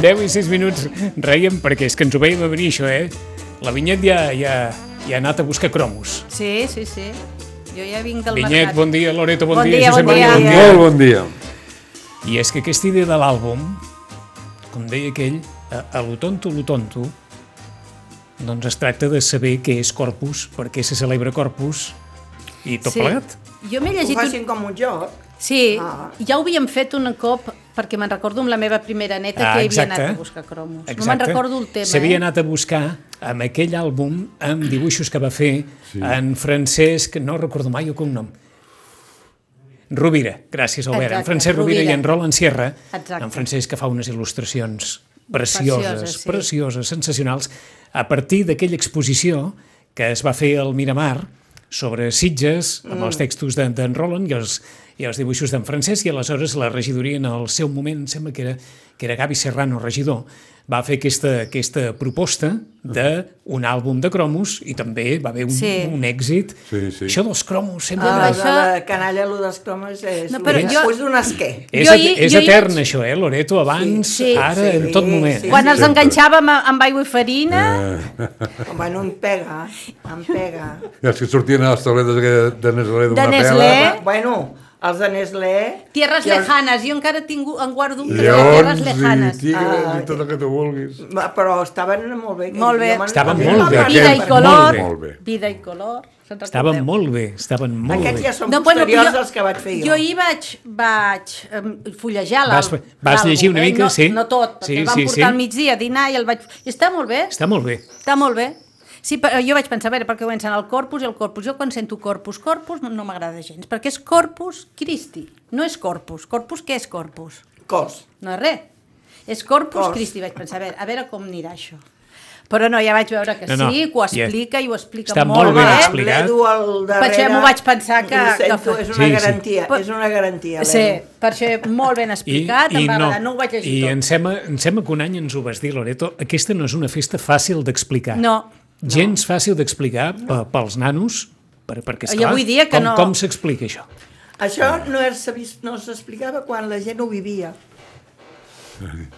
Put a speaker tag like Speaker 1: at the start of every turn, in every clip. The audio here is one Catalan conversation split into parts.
Speaker 1: Bé, 10 i 6 minuts reiem perquè és que ens ho veiem a venir això, eh? La Vinyet ja, ja, ja ha anat a buscar cromos.
Speaker 2: Sí, sí, sí. Jo ja vinc del
Speaker 1: Vinyet,
Speaker 2: mercat.
Speaker 1: bon dia, Loreto, bon,
Speaker 2: Bon dia,
Speaker 1: Josep
Speaker 2: bon
Speaker 1: Maria,
Speaker 2: dia.
Speaker 3: Molt bon dia.
Speaker 1: I és que aquesta idea de l'àlbum, com deia aquell, a, a lo tonto, lo tonto, doncs es tracta de saber què és Corpus, per què se celebra Corpus i tot sí. plegat.
Speaker 2: Jo m'he
Speaker 4: Ho
Speaker 2: llegit...
Speaker 4: facin
Speaker 2: Un...
Speaker 4: com un joc.
Speaker 2: Sí,
Speaker 4: Ah.
Speaker 2: ja ho havíem fet un cop, perquè me'n recordo amb la meva primera neta
Speaker 1: Ah,
Speaker 2: que havia
Speaker 1: exacte.
Speaker 2: anat a buscar cromos. No me'n recordo el tema,
Speaker 1: S'havia
Speaker 2: eh?
Speaker 1: anat a buscar amb aquell àlbum, amb dibuixos que va fer sí. en Francesc, no recordo mai el cognom, Rovira, gràcies Albert,
Speaker 2: Exacte,
Speaker 1: en Francesc Rovira,
Speaker 2: Rovira.
Speaker 1: i en Roland Sierra,
Speaker 2: Exacte.
Speaker 1: en Francesc que fa unes il·lustracions precioses, precioses,
Speaker 2: Precioses, sí.
Speaker 1: precioses sensacionals, a partir d'aquella exposició que es va fer al Miramar sobre Sitges, amb els textos d'en d'en Roland i els, i els dibuixos d'en Francesc, i aleshores la regidoria en el seu moment, em sembla que era, que era Gavi Serrano, regidor, va fer aquesta, aquesta proposta d'un àlbum de cromos i també va haver un,
Speaker 2: Sí.
Speaker 1: sí. un èxit.
Speaker 3: Sí, sí.
Speaker 1: Això dels cromos
Speaker 4: Ah,
Speaker 1: sembla...
Speaker 4: això...
Speaker 2: això-
Speaker 4: de canalla, allò dels cromes és...
Speaker 2: No, però
Speaker 4: un-
Speaker 2: jo-
Speaker 4: És un esquer.
Speaker 1: És,
Speaker 2: Jo
Speaker 1: jo,
Speaker 2: hi-
Speaker 1: és
Speaker 2: jo hi
Speaker 1: etern,
Speaker 2: vaig-
Speaker 1: això, eh, Loreto? Abans, sí,
Speaker 2: Sí,
Speaker 1: ara,
Speaker 4: sí,
Speaker 1: en tot moment.
Speaker 4: sí.
Speaker 2: Quan els
Speaker 3: Sempre.
Speaker 2: enganxàvem a- amb aigua i farina...
Speaker 1: Ah.
Speaker 4: Bueno, em pega, em pega.
Speaker 2: Eh?
Speaker 3: I els que sortien a les tabletes aquelles de Nestlé d'una
Speaker 2: Nestlé.
Speaker 3: pela...
Speaker 2: Eh?
Speaker 4: Bueno, els de Nestlé...
Speaker 2: Tierras
Speaker 4: I els-
Speaker 2: lejanes, jo encara tinc, en guardo un tros de
Speaker 3: Lleons
Speaker 2: tierras
Speaker 3: i
Speaker 2: lejanes. Ah,
Speaker 3: tigres i tot el que tu vulguis.
Speaker 4: Va, Però estaven molt bé.
Speaker 2: Molt bé.
Speaker 4: Jo me'n-
Speaker 1: Estaven
Speaker 4: a mi
Speaker 1: molt
Speaker 4: m'ha
Speaker 3: bé,
Speaker 4: marcat.
Speaker 2: Vida i
Speaker 1: Molt
Speaker 2: color,
Speaker 1: bé.
Speaker 3: Molt bé.
Speaker 2: vida i color. se'n
Speaker 1: Estaven
Speaker 2: recordeu?
Speaker 1: molt bé, estaven molt
Speaker 4: Aquests
Speaker 1: bé.
Speaker 4: ja són posteriors als que vaig fer jo.
Speaker 2: Jo hi vaig, vaig um, fullejar
Speaker 1: Vas-
Speaker 2: l'àlbum.
Speaker 1: vas llegir una
Speaker 2: l'àlbum,
Speaker 1: mica,
Speaker 2: eh? no,
Speaker 1: sí.
Speaker 2: No tot, perquè
Speaker 1: Sí,
Speaker 2: sí, el vam
Speaker 1: sí,
Speaker 2: sí,
Speaker 1: sí.
Speaker 2: portar al migdia a dinar i el vaig... I està molt bé,
Speaker 1: Està molt bé.
Speaker 2: està molt bé. Sí, però jo vaig pensar, a veure, perquè comencen el corpus i el corpus. Jo quan sento corpus, corpus no m'agrada gens, perquè és corpus Christi, no és corpus. Corpus què és corpus?
Speaker 4: Cos.
Speaker 2: No és res. És corpus
Speaker 4: Cos.
Speaker 2: Christi, vaig pensar, a veure, a veure com anirà això. Però no, ja vaig veure que
Speaker 1: No, no,
Speaker 2: sí, que
Speaker 1: ja.
Speaker 2: ho explica i ho explica
Speaker 1: Està
Speaker 2: molt,
Speaker 1: molt ben
Speaker 2: bé.
Speaker 1: explicat.
Speaker 4: eh, L'Edu al darrere...
Speaker 2: Vaig- m'ho vaig pensar que-
Speaker 4: Ho sento,
Speaker 2: que-
Speaker 4: és una
Speaker 1: Sí, sí.
Speaker 4: garantia,
Speaker 2: Però-
Speaker 4: és una garantia.
Speaker 2: Sí,
Speaker 4: l'Edu.
Speaker 2: per això molt ben explicat, em va agradar, no ho vaig llegir
Speaker 1: i
Speaker 2: tot.
Speaker 1: em sembla, em sembla que un any ens ho vas dir, Loreto, aquesta no és una festa fàcil d'explicar.
Speaker 2: No.
Speaker 1: Gens fàcil d'explicar pe- pels nanos, per, perquè,
Speaker 2: Jo
Speaker 1: esclar,
Speaker 2: vull dir que
Speaker 1: com,
Speaker 2: no.
Speaker 1: com s'explica això?
Speaker 4: Això no es- s'avis- no s'explicava quan la gent ho vivia.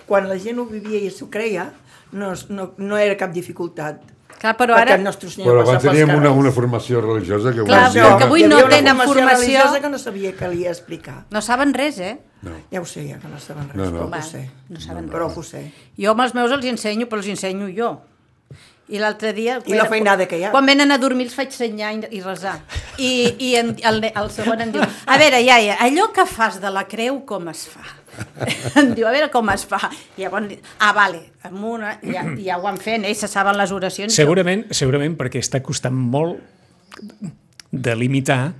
Speaker 4: Quan la gent ho vivia i s'ho creia, no, es- no, no era cap dificultat.
Speaker 2: Clar, però
Speaker 4: Perquè
Speaker 2: ara...
Speaker 4: el nostre senyor
Speaker 3: Però
Speaker 4: passava
Speaker 3: abans
Speaker 4: pels
Speaker 3: teníem una,
Speaker 4: carrers.
Speaker 3: una formació religiosa que ho
Speaker 2: Clar,
Speaker 3: volia
Speaker 2: però
Speaker 3: dir,
Speaker 2: que avui
Speaker 4: hi
Speaker 2: no
Speaker 4: havia una
Speaker 2: tenen formació.
Speaker 4: religiosa que no sabia que li explicar.
Speaker 2: No saben res, eh?
Speaker 4: Ja ho sé, ja que no saben res,
Speaker 3: No, no.
Speaker 4: però
Speaker 2: Va,
Speaker 4: ho sé.
Speaker 2: no saben
Speaker 4: Però ho sé.
Speaker 2: Jo amb els meus els hi ensenyo, però els hi ensenyo jo. I l'altre dia...
Speaker 4: I la feinada que hi ha.
Speaker 2: Quan venen a dormir els faig senyar i, i resar. I, i en, el, ne- el segon em diu, a veure, iaia, allò que fas de la creu, com es fa? em diu, a veure com es fa. I llavors, li- ah, vale, amb una, ja, ja ho han fet, ells se saben les oracions.
Speaker 1: Segurament, segurament perquè està costant molt delimitar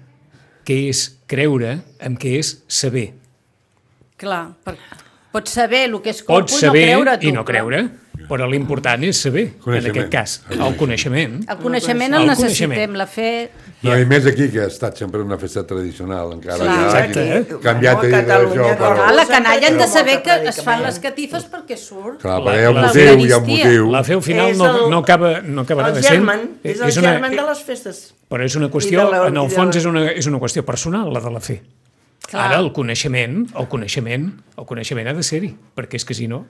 Speaker 1: què és creure amb què és saber.
Speaker 2: Clar, per, pots saber el que és
Speaker 1: Pots
Speaker 2: corpus
Speaker 1: saber
Speaker 2: i no creure tu.
Speaker 1: i no creure, però l'important és saber, en
Speaker 3: Coneixement.
Speaker 1: aquest cas, el coneixement.
Speaker 2: El coneixement el
Speaker 1: El
Speaker 2: necessitem,
Speaker 1: coneixement.
Speaker 2: la fe...
Speaker 3: No, i més aquí, que ha estat sempre una festa tradicional, encara
Speaker 2: Clar.
Speaker 3: ja
Speaker 1: Exacte,
Speaker 3: hagi
Speaker 1: eh?
Speaker 3: canviat de dir
Speaker 4: Bueno, a
Speaker 3: això,
Speaker 4: Catalunya,
Speaker 3: però...
Speaker 2: Ah, la canalla han de
Speaker 4: Però
Speaker 2: saber
Speaker 4: molta
Speaker 2: que es fan
Speaker 4: prèdicament.
Speaker 2: les catifes perquè surt.
Speaker 3: Clar,
Speaker 1: La-
Speaker 3: perquè hi ha un
Speaker 1: la-
Speaker 3: motiu, hi ha un
Speaker 2: l'Eucaristia.
Speaker 3: motiu.
Speaker 1: La fe al final
Speaker 4: És
Speaker 1: no,
Speaker 4: el-
Speaker 1: no acaba, no acabarà
Speaker 4: El
Speaker 1: de ser...
Speaker 4: germen, és eh, el
Speaker 1: una- eh,
Speaker 4: germen de les festes.
Speaker 1: Però és una
Speaker 4: I
Speaker 1: qüestió,
Speaker 4: de la-
Speaker 1: en el
Speaker 4: i de
Speaker 1: fons
Speaker 4: la-
Speaker 1: és una, és una qüestió personal, la de la fe. Clar.
Speaker 2: Clar.
Speaker 1: Ara el coneixement, el coneixement, el coneixement ha de ser-hi, perquè és que si no...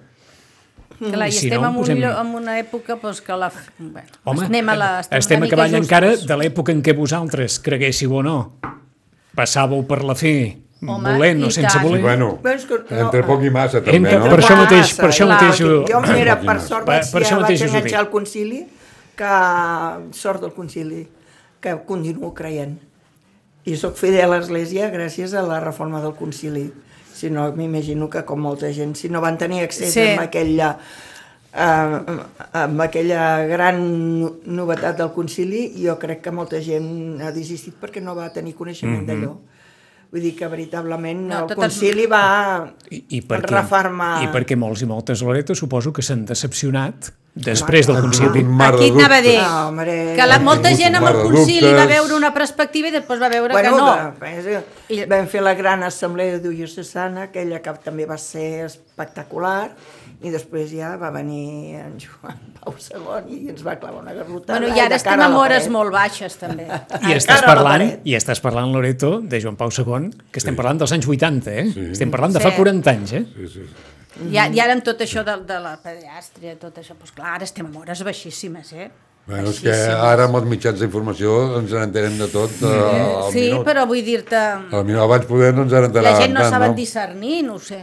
Speaker 2: Clar, i
Speaker 1: Si
Speaker 2: estem
Speaker 1: no,
Speaker 2: no, en, un,
Speaker 1: posem-
Speaker 2: posem... en una època doncs, que la... Bueno,
Speaker 1: Home,
Speaker 2: anem a la...
Speaker 1: estem, estem
Speaker 2: una mica
Speaker 1: acabant
Speaker 2: justos.
Speaker 1: encara de l'època en què vosaltres creguéssiu o no. Passàveu per la fe,
Speaker 2: Home,
Speaker 1: volent o
Speaker 2: i
Speaker 1: sense
Speaker 2: tant.
Speaker 1: voler.
Speaker 3: Bueno,
Speaker 4: Però és que no- eh.
Speaker 3: entre poc i massa, també,
Speaker 1: Entre-
Speaker 3: no?
Speaker 1: per això mateix-
Speaker 4: Massa,
Speaker 1: per això
Speaker 4: clar,
Speaker 1: mateix ho-
Speaker 4: Jo, mira, per
Speaker 3: Imagina't.
Speaker 4: sort
Speaker 1: Per-
Speaker 4: vaig,
Speaker 1: per això
Speaker 4: ja
Speaker 1: mateix
Speaker 4: vaig
Speaker 1: us ho dic.
Speaker 4: enganxar al concili, que sort del concili, que continuo creient. I sóc fidel a l'Església gràcies a la reforma del concili. Si no, m'imagino que com molta gent, si no van tenir accés
Speaker 2: Sí.
Speaker 4: sí. amb aquella eh, amb aquella gran no- novetat del concili, jo crec que molta gent ha desistit perquè no va tenir coneixement mm -hmm. d'allò. Vull dir que veritablement
Speaker 2: No,
Speaker 4: no, el
Speaker 2: totes-
Speaker 4: concili va
Speaker 1: I, i perquè,
Speaker 4: refermar...
Speaker 1: I perquè molts i moltes Loreto suposo que s'han decepcionat després del concili.
Speaker 3: Un mar de
Speaker 2: Aquí anava a dir
Speaker 3: dubtes.
Speaker 4: No, hombre.
Speaker 2: que la, molta
Speaker 3: Tingut un
Speaker 2: gent amb el
Speaker 3: mar de
Speaker 2: concili va
Speaker 3: dubtes.
Speaker 2: veure una perspectiva i després va veure
Speaker 4: Bueno,
Speaker 2: que no.
Speaker 4: de,
Speaker 2: I-
Speaker 4: I... Vam fer la gran assemblea diocesana, aquella que també va ser espectacular, i després ja va venir en Joan Pau II i ens va clavar una garrotada.
Speaker 2: Bueno, i ara
Speaker 4: de
Speaker 2: estem
Speaker 4: cara a
Speaker 2: amb
Speaker 4: la
Speaker 2: hores
Speaker 4: paret.
Speaker 2: molt baixes, també.
Speaker 1: I estàs,
Speaker 4: Encara la
Speaker 1: parlant,
Speaker 4: paret.
Speaker 1: I estàs parlant, Loreto, de Joan Pau II, que estem parlant dels anys 80, eh? Sí. Estem parlant de fa
Speaker 2: Sí.
Speaker 1: 40 anys, eh?
Speaker 3: Sí, sí.
Speaker 2: I, a- I ara amb tot això de, de la pediàstria, tot això, doncs clar, ara estem amb hores baixíssimes, eh?
Speaker 3: Bueno, és que ara amb els mitjans d'informació ens n'entenem de tot eh, al
Speaker 2: Sí,
Speaker 3: minut.
Speaker 2: però vull dir-te,
Speaker 3: Al minut. Abans poder no ens n'enteràvem
Speaker 2: la gent no
Speaker 3: tant,
Speaker 2: saben discernir, no ho sé.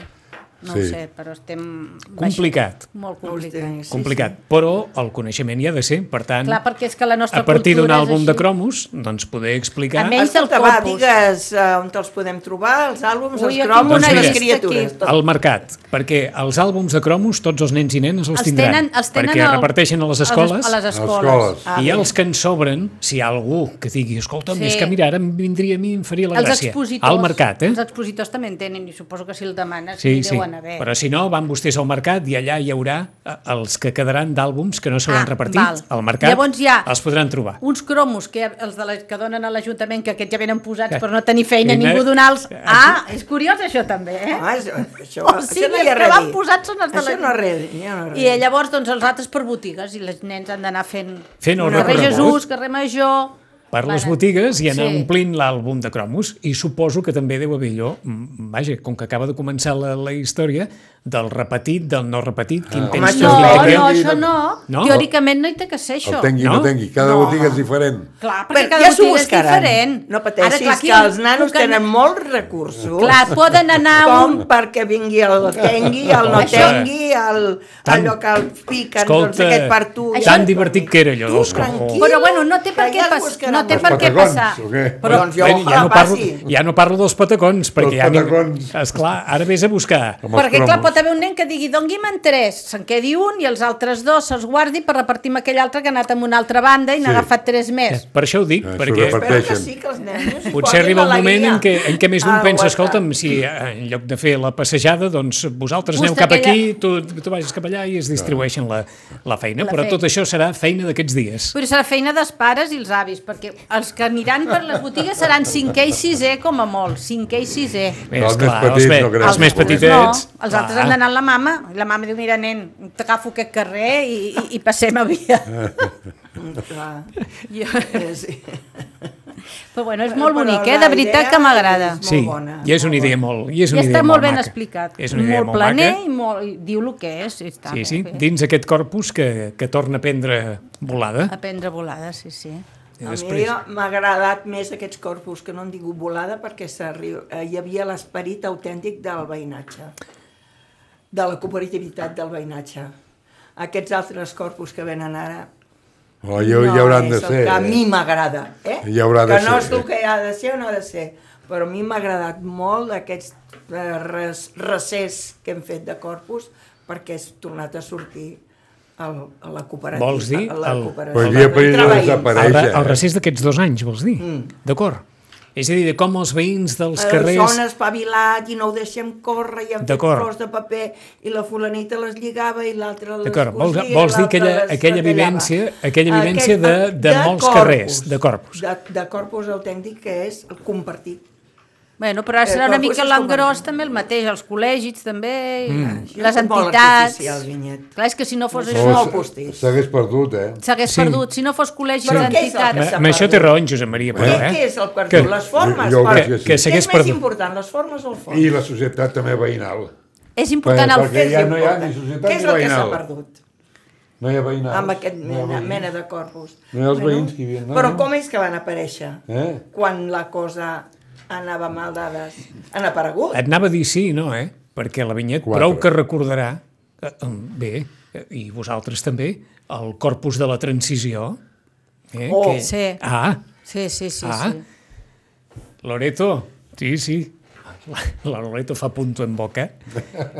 Speaker 2: No ho
Speaker 3: Sí.
Speaker 2: sé, però estem...
Speaker 1: Complicat.
Speaker 2: baix- Molt
Speaker 4: Hosti,
Speaker 2: complicat.
Speaker 4: sí,
Speaker 1: Complicat. Però el coneixement hi ha de ser, per tant,
Speaker 2: Clar, perquè és que la nostra
Speaker 1: a partir d'un
Speaker 2: cultura és
Speaker 1: àlbum
Speaker 2: així.
Speaker 1: de cromos, doncs poder explicar...
Speaker 2: A més- Ells del
Speaker 4: Escolta, va,
Speaker 2: Corpus.
Speaker 4: digues eh, on te'ls podem trobar, els àlbums,
Speaker 2: Ui,
Speaker 4: els
Speaker 2: aquí Eh?
Speaker 4: cromos
Speaker 1: Doncs
Speaker 4: i les
Speaker 1: mira.
Speaker 4: criatures. Tot.
Speaker 1: al mercat, perquè els àlbums de cromos tots els nens i nenes els,
Speaker 2: Els
Speaker 1: tindran,
Speaker 2: tenen, els tenen
Speaker 1: perquè
Speaker 2: al-
Speaker 1: reparteixen a les
Speaker 2: a les-
Speaker 1: escoles,
Speaker 2: A les
Speaker 3: A les
Speaker 2: escoles. Ah,
Speaker 3: escoles.
Speaker 1: i els que en sobren, si hi ha algú que digui, escolta'm,
Speaker 2: Sí.
Speaker 1: sí. és que mira, ara em vindria a mi i em faria la
Speaker 2: Els
Speaker 1: gràcia.
Speaker 2: expositors,
Speaker 1: Al mercat, eh?
Speaker 2: els expositors també en tenen i suposo que si el demanes
Speaker 1: Sí,
Speaker 2: sí,
Speaker 1: sí.
Speaker 2: deuen haver.
Speaker 1: Però si no, van vostès al mercat i allà hi haurà eh, els que quedaran d'àlbums que no s'hauran
Speaker 2: Ah,
Speaker 1: repartit
Speaker 2: val.
Speaker 1: al mercat,
Speaker 2: Llavors hi ha-
Speaker 1: els podran trobar.
Speaker 2: uns cromos que els de la, que donen a l'Ajuntament, que aquests ja venen posats
Speaker 1: Que-
Speaker 2: per no tenir feina,
Speaker 1: Feina- Ah,
Speaker 2: ningú donar-los... Ah, és curiós això també, eh?
Speaker 4: Home, això, Ah, això,
Speaker 2: O sigui,
Speaker 4: això no hi
Speaker 2: els
Speaker 4: ha
Speaker 2: que
Speaker 4: res a
Speaker 2: van
Speaker 4: dir.
Speaker 2: posats són els de
Speaker 4: Això
Speaker 2: la-
Speaker 4: no hi ha res a dir, ja no hi ha res.
Speaker 2: I llavors doncs, els altres per botigues i els nens han d'anar fent,
Speaker 1: Fent el
Speaker 2: carrer
Speaker 1: recorregut.
Speaker 2: Jesús, carrer Major...
Speaker 1: Per les
Speaker 2: Van-
Speaker 1: botigues i anar
Speaker 2: Sí.
Speaker 1: sí. omplint l'àlbum de cromos i suposo que també deu haver allò, mm, vaja, com que acaba de començar la, la història, del repetit, del no repetit, quin
Speaker 3: Ah.
Speaker 1: temps
Speaker 4: Home,
Speaker 1: tens
Speaker 4: això
Speaker 2: No,
Speaker 1: de
Speaker 3: Tengui,
Speaker 1: crear.
Speaker 2: no,
Speaker 3: tengui,
Speaker 2: això no.
Speaker 1: no.
Speaker 2: Teòricament no hi té que ser
Speaker 3: El
Speaker 2: això.
Speaker 3: tengui, no,
Speaker 1: No?
Speaker 3: no tengui. Cada
Speaker 4: No.
Speaker 3: botiga és diferent.
Speaker 2: Clar, perquè
Speaker 4: Però
Speaker 2: cada
Speaker 4: ja s'ho
Speaker 2: botiga és
Speaker 4: buscaran.
Speaker 2: diferent.
Speaker 4: No pateixis,
Speaker 2: Ara, clar,
Speaker 4: que els nanos
Speaker 2: que-
Speaker 4: tenen molts recursos.
Speaker 2: Clar, poden anar a
Speaker 4: com
Speaker 2: un...
Speaker 4: perquè vingui el tengui, el no
Speaker 1: Això-
Speaker 4: tengui, el,
Speaker 1: Tant-
Speaker 4: allò que el piquen, doncs
Speaker 1: Escolta,
Speaker 4: aquest per tu.
Speaker 2: Això-
Speaker 1: tan divertit que era allò
Speaker 4: Tu,
Speaker 1: dels
Speaker 4: tranquil.
Speaker 1: cromos.
Speaker 2: Però bueno, no té per
Speaker 4: Que
Speaker 2: què,
Speaker 4: ja
Speaker 2: pas...
Speaker 4: buscaran
Speaker 2: no té
Speaker 4: els
Speaker 2: per què
Speaker 3: patagons,
Speaker 2: passar.
Speaker 3: o què?
Speaker 4: Però, doncs jo,
Speaker 1: Bé, ja, no parlo,
Speaker 4: passi.
Speaker 1: ja no parlo dels patacons, perquè ja...
Speaker 3: patacons.
Speaker 1: Esclar, ara vés a buscar.
Speaker 3: Amb els
Speaker 2: Perquè, clar,
Speaker 3: cromos.
Speaker 2: pot haver un nen que digui dongui'm en tres, se'n quedi un i els altres dos se'ls guardi per repartir amb aquell altre que ha anat amb una altra banda i n'ha
Speaker 3: Sí.
Speaker 2: agafat tres més.
Speaker 1: Per això ho dic,
Speaker 3: Eh,
Speaker 1: perquè...
Speaker 3: sobretot-
Speaker 4: Espero que
Speaker 3: Parteixen.
Speaker 4: sí, que els nens
Speaker 1: Potser arriba un moment en què, en què més d'un
Speaker 4: Ah,
Speaker 1: pensa,
Speaker 4: guarda.
Speaker 1: escolta'm, si eh, en lloc de fer la passejada, doncs vosaltres
Speaker 2: Just
Speaker 1: aneu cap
Speaker 2: aquella-
Speaker 1: aquí, tu, tu vagis cap allà i es distribueixen la, la feina,
Speaker 2: La
Speaker 1: però
Speaker 2: feina.
Speaker 1: tot això serà feina d'aquests dies.
Speaker 2: Però serà feina dels pares i els avis, perquè els que aniran per les botigues seran cinquè i sisè com a molt, cinquè i sisè.
Speaker 1: Bé,
Speaker 3: Els
Speaker 1: esclar,
Speaker 3: més petits
Speaker 1: els,
Speaker 3: no crec
Speaker 1: els més
Speaker 3: que puguin.
Speaker 1: petitets...
Speaker 2: No, els altres han d'anar amb la mama, i la mama diu, mira, nen, t'agafo aquest carrer i, i, i passem a via.
Speaker 3: Eh.
Speaker 4: Clar,
Speaker 2: Jo...
Speaker 4: és,
Speaker 2: Però bueno, és molt
Speaker 4: Però
Speaker 2: bonic,
Speaker 4: la
Speaker 2: eh? De veritat
Speaker 4: idea
Speaker 2: que m'agrada.
Speaker 4: és-
Speaker 1: Sí,
Speaker 4: Molt bona,
Speaker 1: i és
Speaker 4: molt
Speaker 1: una idea molt, i és
Speaker 2: I
Speaker 1: una idea
Speaker 2: està molt ben
Speaker 1: maca.
Speaker 2: explicat.
Speaker 1: És una idea
Speaker 2: molt
Speaker 1: molt
Speaker 2: planer
Speaker 1: maca.
Speaker 2: i, molt, eh, i diu el que és. i Està
Speaker 1: Sí,
Speaker 2: molt
Speaker 1: sí,
Speaker 2: bé.
Speaker 1: dins aquest corpus que, que torna a prendre volada.
Speaker 2: A prendre volades, sí, sí.
Speaker 1: I
Speaker 4: A mi
Speaker 1: després...
Speaker 4: m'ha agradat més aquests corpus que no han tingut volada perquè s'arriba- eh, hi havia l'esperit autèntic del veïnatge, de la cooperativitat del veïnatge. Aquests altres corpus que venen ara
Speaker 3: Oh, hi, hi hauran de
Speaker 4: és el
Speaker 3: ser.
Speaker 4: que a
Speaker 3: eh?
Speaker 4: mi m'agrada. Eh?
Speaker 3: Hi haurà de
Speaker 4: que no
Speaker 3: ser,
Speaker 4: és el
Speaker 3: eh?
Speaker 4: que hi ha de ser o no ha de ser, però a mi m'ha agradat molt aquests eh, res, recés que hem fet de corpus perquè és tornat a sortir el, a la cooperativa.
Speaker 1: Vols dir
Speaker 4: a la
Speaker 1: el-
Speaker 4: cooperativa.
Speaker 3: Però dia per dia
Speaker 4: Treball.
Speaker 1: El, re,
Speaker 3: desapareix.
Speaker 1: el recés d'aquests dos anys, vols dir? Mm. D'acord. És a dir, de com els veïns dels carrers...
Speaker 4: Eh, Són espavilat i no ho deixem córrer i han fet
Speaker 1: D'acord.
Speaker 4: flors de paper i la fulanita les lligava i l'altra les
Speaker 1: D'acord, vols,
Speaker 4: cosia i
Speaker 1: vols dir
Speaker 4: l'altra
Speaker 1: aquella,
Speaker 4: les
Speaker 1: aquella
Speaker 4: retallava.
Speaker 1: vivència, aquella vivència de,
Speaker 4: Aquest-
Speaker 1: de, molts
Speaker 4: corpus,
Speaker 1: carrers, de corpus.
Speaker 4: De, de corpus autèntic que és el compartit.
Speaker 2: Bueno, però ara
Speaker 4: Eh,
Speaker 2: serà una
Speaker 4: corpus
Speaker 2: mica
Speaker 4: és
Speaker 2: l'engròs
Speaker 4: com-
Speaker 2: també el mateix, els col·legis també, mm.
Speaker 4: Això
Speaker 2: les
Speaker 4: és molt
Speaker 2: entitats...
Speaker 4: artificial, Vinyet.
Speaker 2: Clar, és que si no fos
Speaker 4: No
Speaker 2: això,
Speaker 4: és-
Speaker 3: s-
Speaker 4: postís.
Speaker 3: S'hagués perdut, eh?
Speaker 2: s'hagués
Speaker 1: Sí.
Speaker 2: perdut. Si no fos col·legis,
Speaker 4: Però què és el
Speaker 1: Amb
Speaker 4: que
Speaker 2: entitats...
Speaker 4: s'ha
Speaker 1: amb això té
Speaker 4: perdut?
Speaker 1: raó en Josep Maria.
Speaker 4: Què,
Speaker 1: Però, eh?
Speaker 4: què és el perdut?
Speaker 1: Que-
Speaker 4: Les formes,
Speaker 3: Jo
Speaker 4: per-
Speaker 3: crec que sí.
Speaker 1: Que
Speaker 4: Què és
Speaker 1: s'hagués
Speaker 4: més
Speaker 1: perdut.
Speaker 4: important, les formes o el fons?
Speaker 3: I la societat també veïnal.
Speaker 2: És important el
Speaker 3: Perquè
Speaker 4: Què és
Speaker 3: ja no hi ha
Speaker 4: important?
Speaker 3: ni societat
Speaker 4: Què és
Speaker 3: ni
Speaker 4: el que s'ha
Speaker 3: veïnal.
Speaker 4: perdut?
Speaker 3: No hi ha veïnals.
Speaker 4: amb aquest
Speaker 3: no hi ha
Speaker 4: mena,
Speaker 3: veïns.
Speaker 4: mena de corpus.
Speaker 3: No hi ha els veïns que hi havien, no,
Speaker 4: Però
Speaker 3: no.
Speaker 4: com és que van aparèixer?
Speaker 3: Eh?
Speaker 4: Quan la cosa anava mal dades. Han aparegut.
Speaker 1: Et anava a dir sí i no, eh? Perquè la Vinyet
Speaker 3: Quatre.
Speaker 1: prou que recordarà, eh, em- bé, eh, i vosaltres també, el corpus de la transició. Eh?
Speaker 4: Oh.
Speaker 1: que...
Speaker 2: Sí.
Speaker 1: Ah,
Speaker 2: Sí, sí, sí,
Speaker 1: Ah.
Speaker 2: sí.
Speaker 1: Loreto, sí, sí. La- La Loreto fa punto en boca,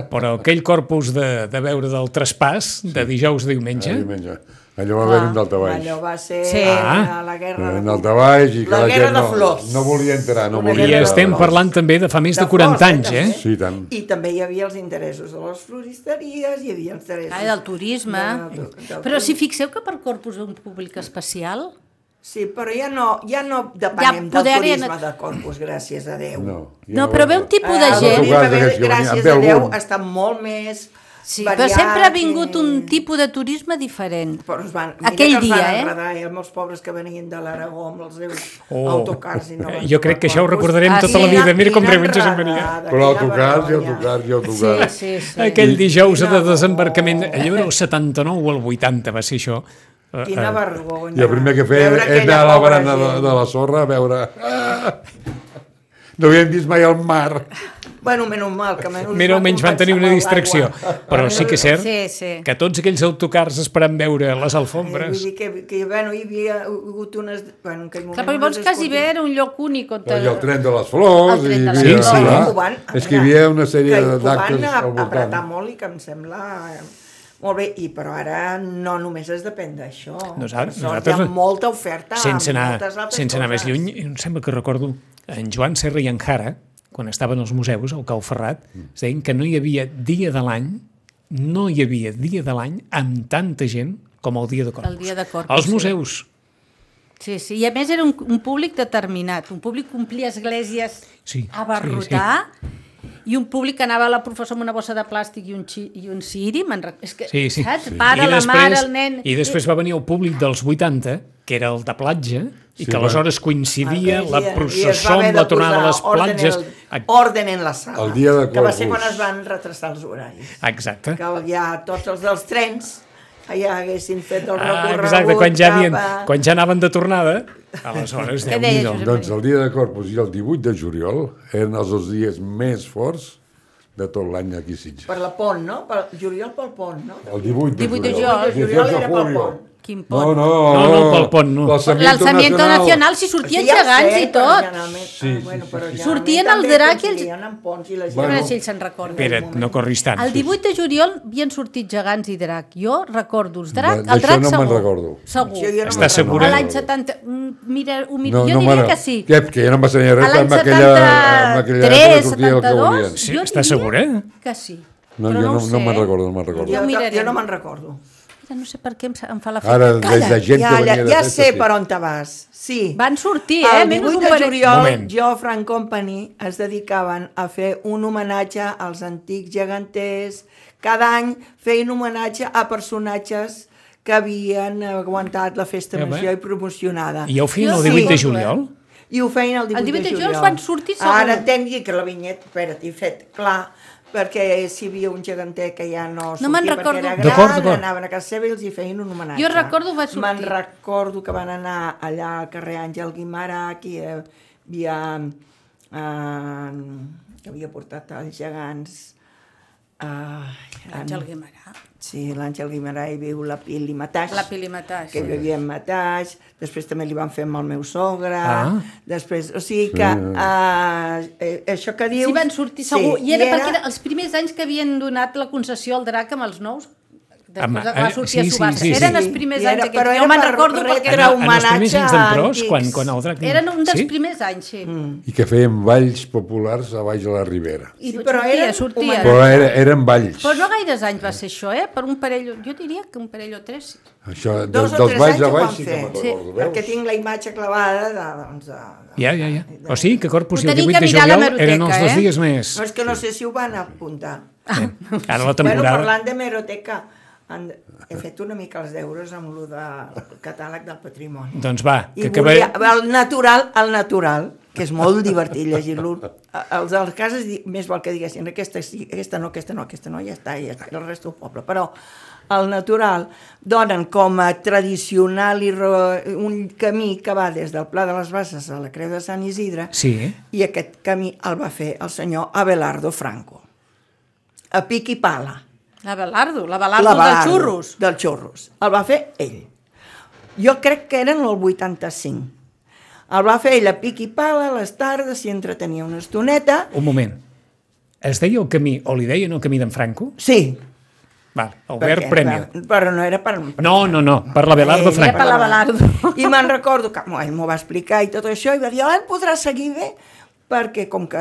Speaker 1: però aquell corpus de, de veure del traspàs de dijous a diumenge,
Speaker 3: Ah, diumenge. Allò va haver un daltabaix.
Speaker 4: Allò va ser
Speaker 2: Sí.
Speaker 4: sí.
Speaker 1: Ah.
Speaker 4: la guerra...
Speaker 3: Un
Speaker 4: de...
Speaker 3: daltabaix i que
Speaker 4: La
Speaker 3: la,
Speaker 4: guerra
Speaker 3: gent
Speaker 4: de
Speaker 3: no,
Speaker 4: flors.
Speaker 3: no volia entrar, no
Speaker 4: Una
Speaker 3: volia
Speaker 1: I
Speaker 4: guerra de
Speaker 3: entrar.
Speaker 1: estem
Speaker 4: flors.
Speaker 1: parlant també de fa més de 40 anys, eh?
Speaker 4: també.
Speaker 3: Sí, i tant.
Speaker 4: I també hi havia els interessos de les floristeries, hi havia els interessos...
Speaker 2: Ah, del turisme.
Speaker 4: de- de- del
Speaker 2: Però si fixeu que per Corpus un públic especial...
Speaker 4: Sí, però ja no, ja no depenem ja del
Speaker 2: poder-
Speaker 4: turisme de Corpus, gràcies a Déu.
Speaker 3: No, ja
Speaker 2: No, però ve un tipus de
Speaker 4: Ah, el
Speaker 2: gent...
Speaker 4: turisme,
Speaker 3: Portugal, d'aquests que venien.
Speaker 4: gràcies
Speaker 3: Ve
Speaker 4: a Déu,
Speaker 3: algun.
Speaker 4: ha estat molt més
Speaker 2: Sí,
Speaker 4: variat.
Speaker 2: però sempre ha vingut
Speaker 4: i-
Speaker 2: un tipus de turisme diferent.
Speaker 4: Però es van,
Speaker 2: Aquell
Speaker 4: mira que es
Speaker 2: dia,
Speaker 4: van
Speaker 2: eh?
Speaker 4: enredar, eh? Els meus pobres que venien de l'Aragó amb els seus
Speaker 1: Oh.
Speaker 4: autocars. I no van
Speaker 1: Jo crec que això ho
Speaker 4: Corpus.
Speaker 1: recordarem
Speaker 2: Ah, tota la
Speaker 4: quina-
Speaker 2: vida.
Speaker 1: Mira com
Speaker 4: quina
Speaker 1: revenges en
Speaker 4: enredada,
Speaker 1: venia.
Speaker 3: Però
Speaker 4: quina
Speaker 3: autocars i
Speaker 4: vergonya.
Speaker 3: autocars i
Speaker 2: Sí,
Speaker 3: autocars.
Speaker 2: sí, sí.
Speaker 1: Aquell dijous de
Speaker 4: Quina
Speaker 1: desembarcament,
Speaker 4: vergonya.
Speaker 1: allò era el 79 o el 80, va ser això. Eh,
Speaker 4: Quina
Speaker 1: eh,
Speaker 4: vergonya.
Speaker 3: I el primer que feia
Speaker 4: Veure
Speaker 3: era
Speaker 4: aquella
Speaker 3: anar a la
Speaker 4: pobra
Speaker 3: barana de,
Speaker 4: gent.
Speaker 3: de la sorra a veure... Ah! No havíem vist mai el mar.
Speaker 4: Bueno, menys mal, que menys
Speaker 1: Mira, almenys van tenir una distracció. Però sí que és cert
Speaker 2: Sí, sí.
Speaker 1: que tots aquells autocars esperant veure les
Speaker 4: Vull
Speaker 1: alfombres...
Speaker 4: dir que, que bueno, hi havia hagut unes... Bueno, en aquell moment...
Speaker 2: Clar, però llavors
Speaker 4: unes
Speaker 2: quasi bé
Speaker 4: escoltes-
Speaker 2: era un lloc únic on...
Speaker 3: I el tren de les flors...
Speaker 2: El tren
Speaker 3: i
Speaker 2: de
Speaker 3: hi
Speaker 2: les
Speaker 3: havia-
Speaker 1: flors. Sí, sí.
Speaker 3: clar,
Speaker 4: Ho van
Speaker 3: és que hi havia una sèrie
Speaker 4: que ho
Speaker 3: d'actes
Speaker 4: van
Speaker 3: al
Speaker 4: ap- apretar
Speaker 3: voltant.
Speaker 4: molt i que em sembla... eh, Molt bé, i però ara no només es depèn d'això.
Speaker 1: Nosaltres-
Speaker 4: Per sort,
Speaker 1: nosaltres-
Speaker 4: Hi ha molta oferta
Speaker 1: sense
Speaker 4: amb
Speaker 1: anar,
Speaker 4: moltes altres
Speaker 1: sense anar més
Speaker 4: coses.
Speaker 1: lluny, em sembla que recordo en Joan Serra i en Jara, quan estaven als museus, al Cau Ferrat, es deien que no hi havia dia de l'any, no hi havia dia de l'any amb tanta gent com el dia de Corpus.
Speaker 2: El dia de Corpus,
Speaker 1: Als
Speaker 2: sí.
Speaker 1: museus.
Speaker 2: Sí, sí, i a més era un, un públic determinat, un públic que omplia esglésies
Speaker 1: Sí,
Speaker 2: a barrotar, i un públic que anava a la professora amb una bossa de plàstic i un, xi, i un ciri, me'n rec- és que,
Speaker 1: Sí, sí.
Speaker 2: saps?
Speaker 1: sí.
Speaker 2: Pare, la mare, el nen...
Speaker 1: I després va venir el públic dels 80, que era el de platja, i
Speaker 3: Sí,
Speaker 1: que
Speaker 3: va.
Speaker 1: aleshores coincidia
Speaker 4: Aquell
Speaker 1: la
Speaker 4: dia, i es va
Speaker 1: processó
Speaker 4: haver
Speaker 1: amb la tornada de
Speaker 4: posar
Speaker 1: les platges.
Speaker 4: Orden, en el, orden en la sala.
Speaker 3: El dia de
Speaker 4: Que va ser
Speaker 3: Corpus.
Speaker 4: quan es van retrasar els horaris.
Speaker 2: Oh,
Speaker 1: Exacte.
Speaker 4: Que ja tots els dels trens ja haguessin fet el
Speaker 1: Ah,
Speaker 4: recorregut
Speaker 1: exacte, quan ja, havien,
Speaker 4: cap a-
Speaker 1: quan ja anaven de tornada, aleshores,
Speaker 2: Què
Speaker 1: déu
Speaker 2: deia,
Speaker 1: nhi
Speaker 2: Josep?
Speaker 3: Doncs el dia de Corpus i el 18 de juliol eren els dos dies més forts de tot l'any aquí a Sitges.
Speaker 4: Per la pont, no? Per juliol pel pont, no?
Speaker 3: El 18 de
Speaker 2: 18 de
Speaker 3: juliol.
Speaker 2: juliol.
Speaker 3: 18 de
Speaker 4: Era pel
Speaker 3: juliol.
Speaker 4: pont.
Speaker 2: eh, Quin
Speaker 3: No,
Speaker 2: pont.
Speaker 1: No,
Speaker 3: no,
Speaker 1: no, pel pont, no.
Speaker 2: L'alçamiento nacional. si sortien gegants i tot.
Speaker 4: Sí,
Speaker 3: sí,
Speaker 4: Ah, bueno,
Speaker 3: sí,
Speaker 4: però
Speaker 3: sí.
Speaker 2: Sortien
Speaker 4: generalment
Speaker 2: els drac i els-
Speaker 4: també coincidien amb ponts i la gent...
Speaker 2: A veure
Speaker 3: Bueno.
Speaker 2: si ells se'n recorden.
Speaker 1: Espera't, no corris tant.
Speaker 2: El 18 de juliol havien sortit gegants i drac. Jo recordo els drac,
Speaker 3: De-
Speaker 2: el
Speaker 3: d'això
Speaker 2: drac
Speaker 3: no me'n
Speaker 2: segur.
Speaker 3: recordo.
Speaker 4: Jo- jo
Speaker 2: Segur.
Speaker 4: no
Speaker 1: Estàs
Speaker 4: me'n
Speaker 1: segura?
Speaker 2: A
Speaker 3: recordo.
Speaker 2: l'any 70... mm, Mira, ho miro.
Speaker 3: No,
Speaker 2: jo
Speaker 3: no
Speaker 2: diria
Speaker 3: m'agrada.
Speaker 2: que sí.
Speaker 3: Que, que ja no em va ensenyar
Speaker 2: A
Speaker 3: res,
Speaker 2: l'any
Speaker 3: amb aquella, amb aquella època
Speaker 2: 73,
Speaker 3: sortia el que
Speaker 2: 72,
Speaker 3: volien.
Speaker 1: Sí,
Speaker 2: jo
Speaker 1: estàs
Speaker 2: diria
Speaker 1: segura?
Speaker 2: Que sí.
Speaker 3: No,
Speaker 2: però
Speaker 3: jo
Speaker 2: ho
Speaker 3: no, no
Speaker 2: sé,
Speaker 3: me'n
Speaker 2: eh?
Speaker 3: recordo, no me'n recordo.
Speaker 2: ho
Speaker 4: Jo, ta- jo
Speaker 2: mirarem.
Speaker 4: no me'n recordo.
Speaker 2: Mira, no sé per què em, sa- em fa la feina.
Speaker 3: Ara, des de gent
Speaker 4: Ja,
Speaker 3: que
Speaker 4: ja,
Speaker 3: venia de
Speaker 4: ja
Speaker 3: festa,
Speaker 4: sé
Speaker 3: sí.
Speaker 4: per on te vas. Sí.
Speaker 2: Van sortir, eh?
Speaker 4: El
Speaker 2: Menys
Speaker 4: 18
Speaker 2: un
Speaker 4: de
Speaker 2: parell.
Speaker 4: juliol,
Speaker 1: Moment.
Speaker 4: Geoff and Company es dedicaven a fer un homenatge als antics geganters. Cada any feien homenatge a personatges que havien aguantat la festa
Speaker 1: Eh, bé.
Speaker 4: major i promocionada.
Speaker 1: I ho feien
Speaker 2: Jo
Speaker 1: el
Speaker 2: sí.
Speaker 1: 18 de juliol?
Speaker 4: I ho feien el 18,
Speaker 2: El 18 de juliol
Speaker 4: juliol.
Speaker 2: van sortir segur.
Speaker 4: Ara entengui que la vinyeta, espera't, i fet, clar, perquè si hi havia un geganter que ja no sortia
Speaker 2: me'n
Speaker 4: perquè
Speaker 2: recordo.
Speaker 4: era gran,
Speaker 1: D'acord, d'acord.
Speaker 4: anaven a casa seva i els hi feien un homenatge.
Speaker 2: Jo recordo va sortir.
Speaker 4: Me'n recordo que van anar allà al carrer Àngel Guimarà, que hi havia... Eh, que havia portat els gegants... Eh,
Speaker 2: Àngel Guimarà.
Speaker 4: Sí, l'Àngel Guimarà hi viu la Pili Mataix
Speaker 2: La Pili Matàs.
Speaker 4: que bevia amb mataix, després també li van fer amb el meu sogre,
Speaker 1: Ah.
Speaker 4: després, o sigui que eh, eh, això que dius...
Speaker 2: Sí, van sortir segur. I era, perquè eren els primers anys que havien donat la concessió al drac amb els nous.
Speaker 1: Amb-
Speaker 2: Després de que va
Speaker 1: eh,
Speaker 2: sortir
Speaker 1: sí,
Speaker 2: a
Speaker 1: sí,
Speaker 2: subhasta.
Speaker 1: sí, sí.
Speaker 2: Eren els
Speaker 4: Sí,
Speaker 2: primers
Speaker 4: i era-
Speaker 2: anys
Speaker 4: però
Speaker 2: aquests.
Speaker 4: era
Speaker 2: Jo me'n
Speaker 4: per
Speaker 2: recordo perquè
Speaker 4: retre
Speaker 1: Ah, En,
Speaker 4: Era
Speaker 1: en els primers
Speaker 4: homenatge
Speaker 1: anys
Speaker 4: a
Speaker 1: d'Ambrós,
Speaker 4: antics.
Speaker 1: quan, quan el drac...
Speaker 2: eren un dels
Speaker 1: sí?
Speaker 2: primers anys, sí. Mm.
Speaker 3: I que feien balls populars a baix de la Ribera.
Speaker 2: I
Speaker 4: Sí,
Speaker 2: però
Speaker 4: però
Speaker 2: sortia,
Speaker 4: eren
Speaker 2: sortia.
Speaker 4: humans.
Speaker 2: Però...
Speaker 3: Però era, eren balls.
Speaker 2: no gaires anys va ser això, eh? Per un parell, o- jo diria que un parell o tres.
Speaker 3: Això,
Speaker 4: Dos
Speaker 3: dels,
Speaker 4: o
Speaker 3: dels
Speaker 4: tres
Speaker 3: balls
Speaker 4: anys
Speaker 3: a
Speaker 4: ho van
Speaker 3: baix sí que
Speaker 4: fer,
Speaker 3: me'n
Speaker 4: sí,
Speaker 3: recordo, veus?
Speaker 4: perquè tinc la imatge clavada de... Doncs, de, de...
Speaker 1: Ja, ja, ja. O sigui que Corpus i el
Speaker 2: Ho tenim
Speaker 1: 18 de
Speaker 2: que mirar a la
Speaker 1: juliol eren els
Speaker 2: hemeroteca,
Speaker 1: dos
Speaker 2: eh?
Speaker 1: dies més.
Speaker 4: No, és que no sé si ho van apuntar.
Speaker 1: Ara la
Speaker 4: Bueno,
Speaker 1: temporada...
Speaker 4: parlant de meroteca, han, he fet una mica els deures amb el de catàleg del patrimoni.
Speaker 1: Doncs va,
Speaker 4: I
Speaker 1: que acabem...
Speaker 4: volia, el natural, el natural, que és molt divertit llegir-lo. Els dels cases di- més val que diguessin aquesta sí, aquesta no, aquesta no, aquesta no, ja està, ja està, i el resto del poble. Però el natural donen com a tradicional i re- un camí que va des del Pla de les Basses a la Creu de Sant Isidre
Speaker 1: Sí. eh?
Speaker 4: i aquest camí el va fer el senyor Abelardo Franco. A pic i pala
Speaker 2: La Belardo, la Belardo dels
Speaker 4: Balardo,
Speaker 2: xurros.
Speaker 4: Dels xurros. El va fer ell. Jo crec que eren el 85. El va fer ell a pic i pala, a les tardes, s'hi entretenia una estoneta.
Speaker 1: Un moment. Es deia el camí, o li deien el camí d'en Franco?
Speaker 4: Sí,
Speaker 1: Val, Albert Premi.
Speaker 4: va- Però no era per...
Speaker 1: No, no, no, per la Belardo
Speaker 4: Eh,
Speaker 1: Franco.
Speaker 4: per
Speaker 2: Epa, la Belardo.
Speaker 4: I me'n recordo que mo- ell m'ho va explicar i tot això, i va dir, "Ah, el podrà seguir bé, perquè com que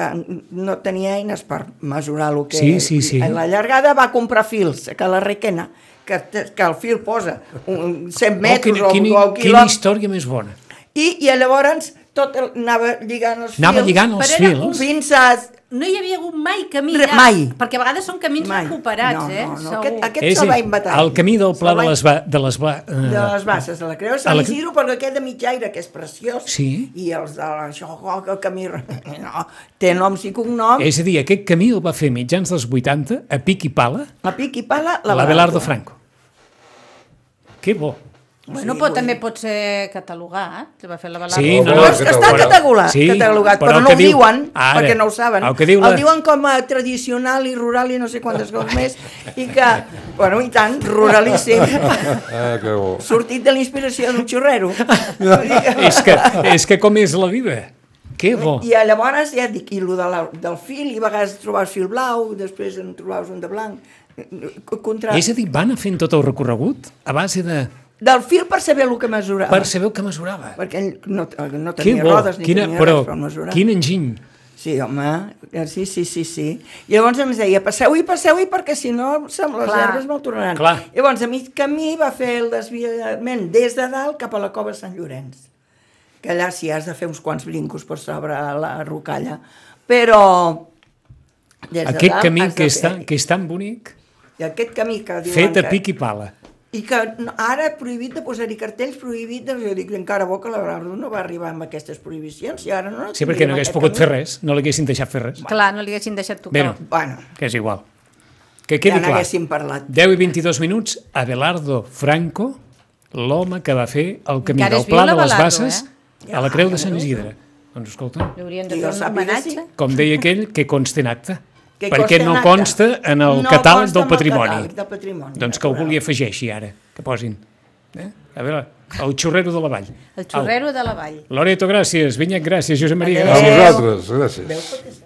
Speaker 4: no tenia eines per mesurar el que...
Speaker 1: Sí, sí, sí.
Speaker 4: en La llargada va comprar fils, que la requena, que, te- que el fil posa un 100 metres
Speaker 1: Oh, quina,
Speaker 4: o,
Speaker 1: quina,
Speaker 4: o un
Speaker 1: quina
Speaker 4: quilòmetre,
Speaker 1: història més bona.
Speaker 4: i, i llavors tot el, anava lligant els
Speaker 1: Anava
Speaker 4: fils.
Speaker 1: lligant els
Speaker 2: però era un
Speaker 1: fils.
Speaker 4: Fins a...
Speaker 2: No hi havia hagut mai camí
Speaker 4: Re-
Speaker 2: llarg,
Speaker 4: mai.
Speaker 2: perquè a vegades són camins
Speaker 4: Mai.
Speaker 2: recuperats,
Speaker 4: No,
Speaker 2: eh?
Speaker 4: no, no,
Speaker 2: segur.
Speaker 4: aquest- aquest- se'l va inventar.
Speaker 1: El camí del Pla
Speaker 4: Se'l
Speaker 1: de
Speaker 4: va- Doncs,
Speaker 1: les... Ba, de les ba, eh,
Speaker 4: de les basses de la Creu de
Speaker 1: A
Speaker 4: Sant
Speaker 1: la-
Speaker 4: Isidro, perquè aquest de mitjaire, que és preciós,
Speaker 1: Sí.
Speaker 4: i els de això, oh, que el camí... No, té noms i cognoms,
Speaker 1: És a dir, aquest camí el va fer mitjans dels 80, a pic i pala,
Speaker 4: a pic i pala, la
Speaker 1: l'Abelardo Franco. Que bo.
Speaker 2: Bueno,
Speaker 4: Sí,
Speaker 2: però
Speaker 4: vull
Speaker 2: també pot ser catalogat, que va fer la Belardo.
Speaker 1: Sí, no,
Speaker 4: No,
Speaker 1: no,
Speaker 4: és que està
Speaker 1: però-
Speaker 4: catalogat,
Speaker 1: sí,
Speaker 4: sí, catalogat
Speaker 1: però
Speaker 4: però,
Speaker 1: el
Speaker 4: no
Speaker 1: que
Speaker 4: ho
Speaker 1: diu-
Speaker 4: diuen,
Speaker 1: ara,
Speaker 4: perquè no ho saben.
Speaker 1: el que diu la-
Speaker 4: el diuen com a tradicional i rural i no sé quantes coses més, i que, bueno, i tant, ruralíssim,
Speaker 3: Ah, que bo.
Speaker 4: sortit de la inspiració d'un xorrero. Vull dir que-
Speaker 1: És que, és que com és la vida. Que bo.
Speaker 4: I eh, llavors ja et dic, i lo de la, del fil, i a vegades trobaves fil blau, després en trobaves un de blanc. eh, eh, Contra...
Speaker 1: És a dir, van anar fent tot el recorregut a base de...
Speaker 4: Del fil per saber el que mesurava.
Speaker 1: per saber el que mesurava.
Speaker 4: Perquè ell no, Ah. no
Speaker 1: Que
Speaker 4: tenia
Speaker 1: bo.
Speaker 4: rodes ni
Speaker 1: Quina,
Speaker 4: tenia
Speaker 1: però,
Speaker 4: res per mesurar.
Speaker 1: quin enginy.
Speaker 4: Sí, home, eh, sí, sí, sí, sí. I llavors em deia, passeu-hi, passeu-hi, perquè si no se- les
Speaker 2: Clar.
Speaker 4: herbes no tornaran.
Speaker 1: Clar.
Speaker 4: Llavors, a mig camí va fer el desviament des de dalt cap a la cova Sant Llorenç, que allà sí has de fer uns quants brincos per sobre la rocalla, però... Des de
Speaker 1: Aquest
Speaker 4: dalt
Speaker 1: camí
Speaker 4: has de
Speaker 1: que és,
Speaker 4: fer-
Speaker 1: tan, que és tan bonic,
Speaker 4: I aquest camí que diuen
Speaker 1: fet a
Speaker 4: que-
Speaker 1: pic i pala.
Speaker 4: i que no- ara prohibit de posar-hi cartells, prohibit de... Jo dic, encara bo que la Bravo no va arribar amb aquestes prohibicions, i ara no...
Speaker 1: Sí, perquè no hagués pogut fer res, no l'haguessin deixat fer res.
Speaker 2: Clar, no li haguessin deixat tocar.
Speaker 1: Bé, no,
Speaker 4: Bueno,
Speaker 1: que és igual. Que
Speaker 4: ja
Speaker 1: quedi clar.
Speaker 4: n'haguéssim parlat.
Speaker 1: 10 i 22 minuts, Abelardo Franco, l'home que va fer el camí
Speaker 2: Encara
Speaker 1: del
Speaker 2: és viu
Speaker 1: Pla de les
Speaker 2: l'Abelardo,
Speaker 1: Basses
Speaker 4: eh?
Speaker 1: a la Creu de Sant Isidre. Doncs escolta,
Speaker 2: Li haurien de
Speaker 4: I
Speaker 2: fer
Speaker 4: jo
Speaker 2: un
Speaker 4: sàpiga, sí.
Speaker 2: homenatge.
Speaker 1: com deia aquell, que consta en acte.
Speaker 4: Que
Speaker 1: perquè
Speaker 4: consta
Speaker 1: no
Speaker 4: en acte.
Speaker 1: consta en el
Speaker 4: No
Speaker 1: catàleg
Speaker 4: consta
Speaker 1: del
Speaker 4: en el
Speaker 1: patrimoni.
Speaker 4: catàleg del patrimoni,
Speaker 1: Doncs que algú
Speaker 4: natural.
Speaker 1: li afegeixi ara, que posin. Eh? A veure, el xorrero de la vall.
Speaker 2: El xorrero de la vall.
Speaker 1: Au. Loreto, gràcies. Vinyet, gràcies. Josep Maria,
Speaker 3: A
Speaker 4: Adéu.
Speaker 1: gràcies.
Speaker 4: Adéu.
Speaker 3: vosaltres, gràcies.